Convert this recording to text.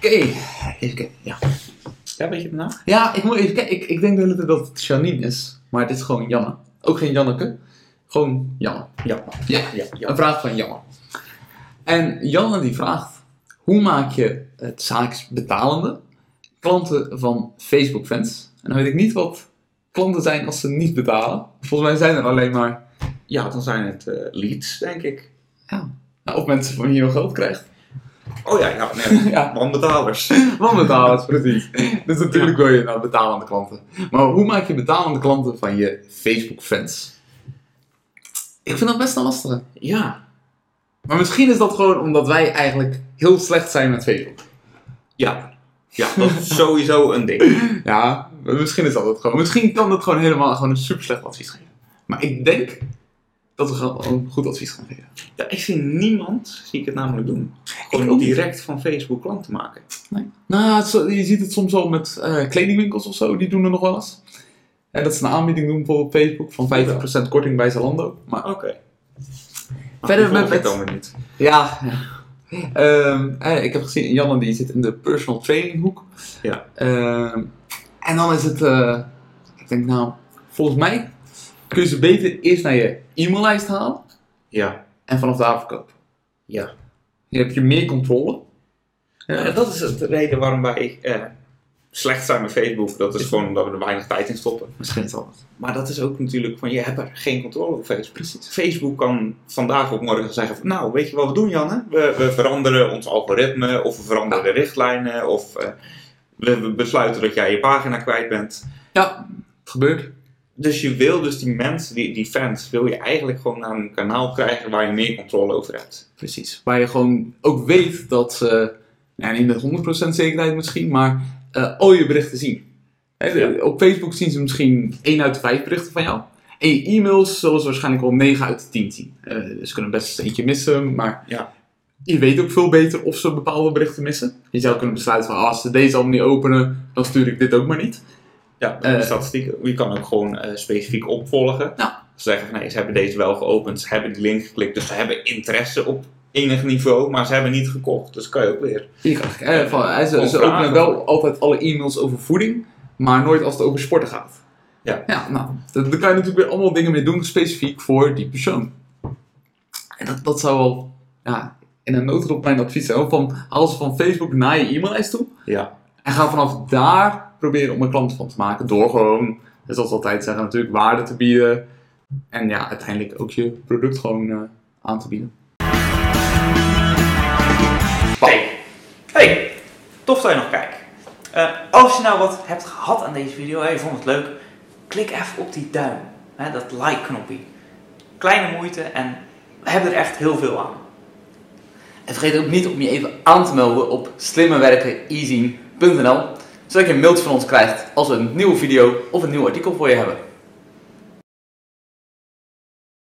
even kijken. Ja. Ja, weet je hem nou? ja, ik moet even kijken. Ik, ik denk de hele tijd dat het Janine is. Maar dit is gewoon Janne. Ook geen Janneke. Gewoon Janne. Ja. Ja. ja, Een vraag van Janne. En Janne die vraagt: hoe maak je het zaaks betalende klanten van Facebook fans? En dan weet ik niet wat klanten zijn als ze niet betalen. Volgens mij zijn er alleen maar Ja, dan zijn het eh, leads, denk ik. nou, of mensen van wie je wel geld krijgt. Oh ja, ja, nee. Ja, Wanbetalers. wat betalers, precies. Dus natuurlijk wil je nou betalende klanten. Maar hoe maak je betalende klanten van je Facebook fans? Ik vind dat best een lastige. Ja. Maar misschien is dat gewoon omdat wij eigenlijk heel slecht zijn met Facebook. Ja. Ja, dat is sowieso een ding. Ja, misschien is dat het gewoon. Misschien kan dat gewoon helemaal gewoon een super slecht advies geven. Maar ik denk dat we gewoon een goed advies gaan geven. Ja, ik zie niemand, zie ik het namelijk doen. Ik Gewoon ook. direct van Facebook klanten maken. Nou, het is- je ziet het soms al met eh, kledingwinkels of zo, die doen er nog wel eens. En dat ze een aanbieding doen bijvoorbeeld op Facebook van 50% korting bij Zalando. Maar Oké. Ah, Verder met met- met- het dan weer niet. ja, Ehm, eh, ik heb gezien, Janne die zit in de personal training hoek. Ja. Ehm, en dan is het, eh, ik denk nou, volgens mij kun je ze beter eerst naar je e-maillijst halen. Ja. en vanaf daar verkopen. Ja. Je hebt je meer controle. Ja, dat is het- de reden waarom wij eh, slecht zijn met Facebook. Dat is gewoon omdat we er weinig tijd in stoppen. Misschien is dat het. Maar dat is ook natuurlijk van, je hebt er geen controle over Facebook. Facebook kan vandaag op morgen zeggen van, nou, weet je wat we doen, Janne? We, we veranderen ons algoritme, of we veranderen de richtlijnen, of eh, we, we besluiten dat jij je pagina kwijt bent. Ja, het gebeurt. Dus je wil dus die mensen, die, die fans, wil je eigenlijk gewoon naar een kanaal krijgen waar je meer controle over hebt. Precies. Waar je gewoon ook weet dat ze, nou, niet met 100% zekerheid misschien, maar eh, al je berichten zien. Hè, de- Ja. Op Facebook zien ze misschien 1 uit de 5 berichten van jou. En je e-mails zullen ze waarschijnlijk wel 9 uit de 10 zien. Eh, ze kunnen best eentje missen, maar Ja. je weet ook veel beter of ze bepaalde berichten missen. Je zou kunnen besluiten van, ah, als ze deze al niet openen, dan stuur ik dit ook maar niet. Ja, de Eh. statistieken. Je kan ook gewoon eh, specifiek opvolgen. Ja. Zeggen van, nee, ze hebben deze wel geopend, ze hebben die link geklikt, dus ze hebben interesse op enig niveau, maar ze hebben niet gekocht. Dus kan je ook weer Hier krijg ik, eh, van, eh, ze, Gewoon ze vragen. openen wel altijd alle e-mails over voeding, maar nooit als het over sporten gaat. Ja. Ja, nou, daar daar kan je natuurlijk weer allemaal dingen mee doen, specifiek voor die persoon. En dat, dat zou wel, ja, in een notendop mijn advies zijn. Van, haal ze van Facebook naar je e-maillijst toe. Ja. En ga vanaf daar proberen om een klant van te maken. Door gewoon, zoals altijd zeggen, natuurlijk waarde te bieden. En ja, uiteindelijk ook je product gewoon eh, aan te bieden. Hey. hey, tof dat je nog kijkt. Eh, als je nou wat hebt gehad aan deze video en je vond het leuk, klik even op die duim, hè, dat like-knopje. Kleine moeite en we hebben er echt heel veel aan. En vergeet ook niet om je even aan te melden op slimmewerkeneasy.nl, zodat je een mailtje van ons krijgt als we een nieuwe video of een nieuw artikel voor je hebben.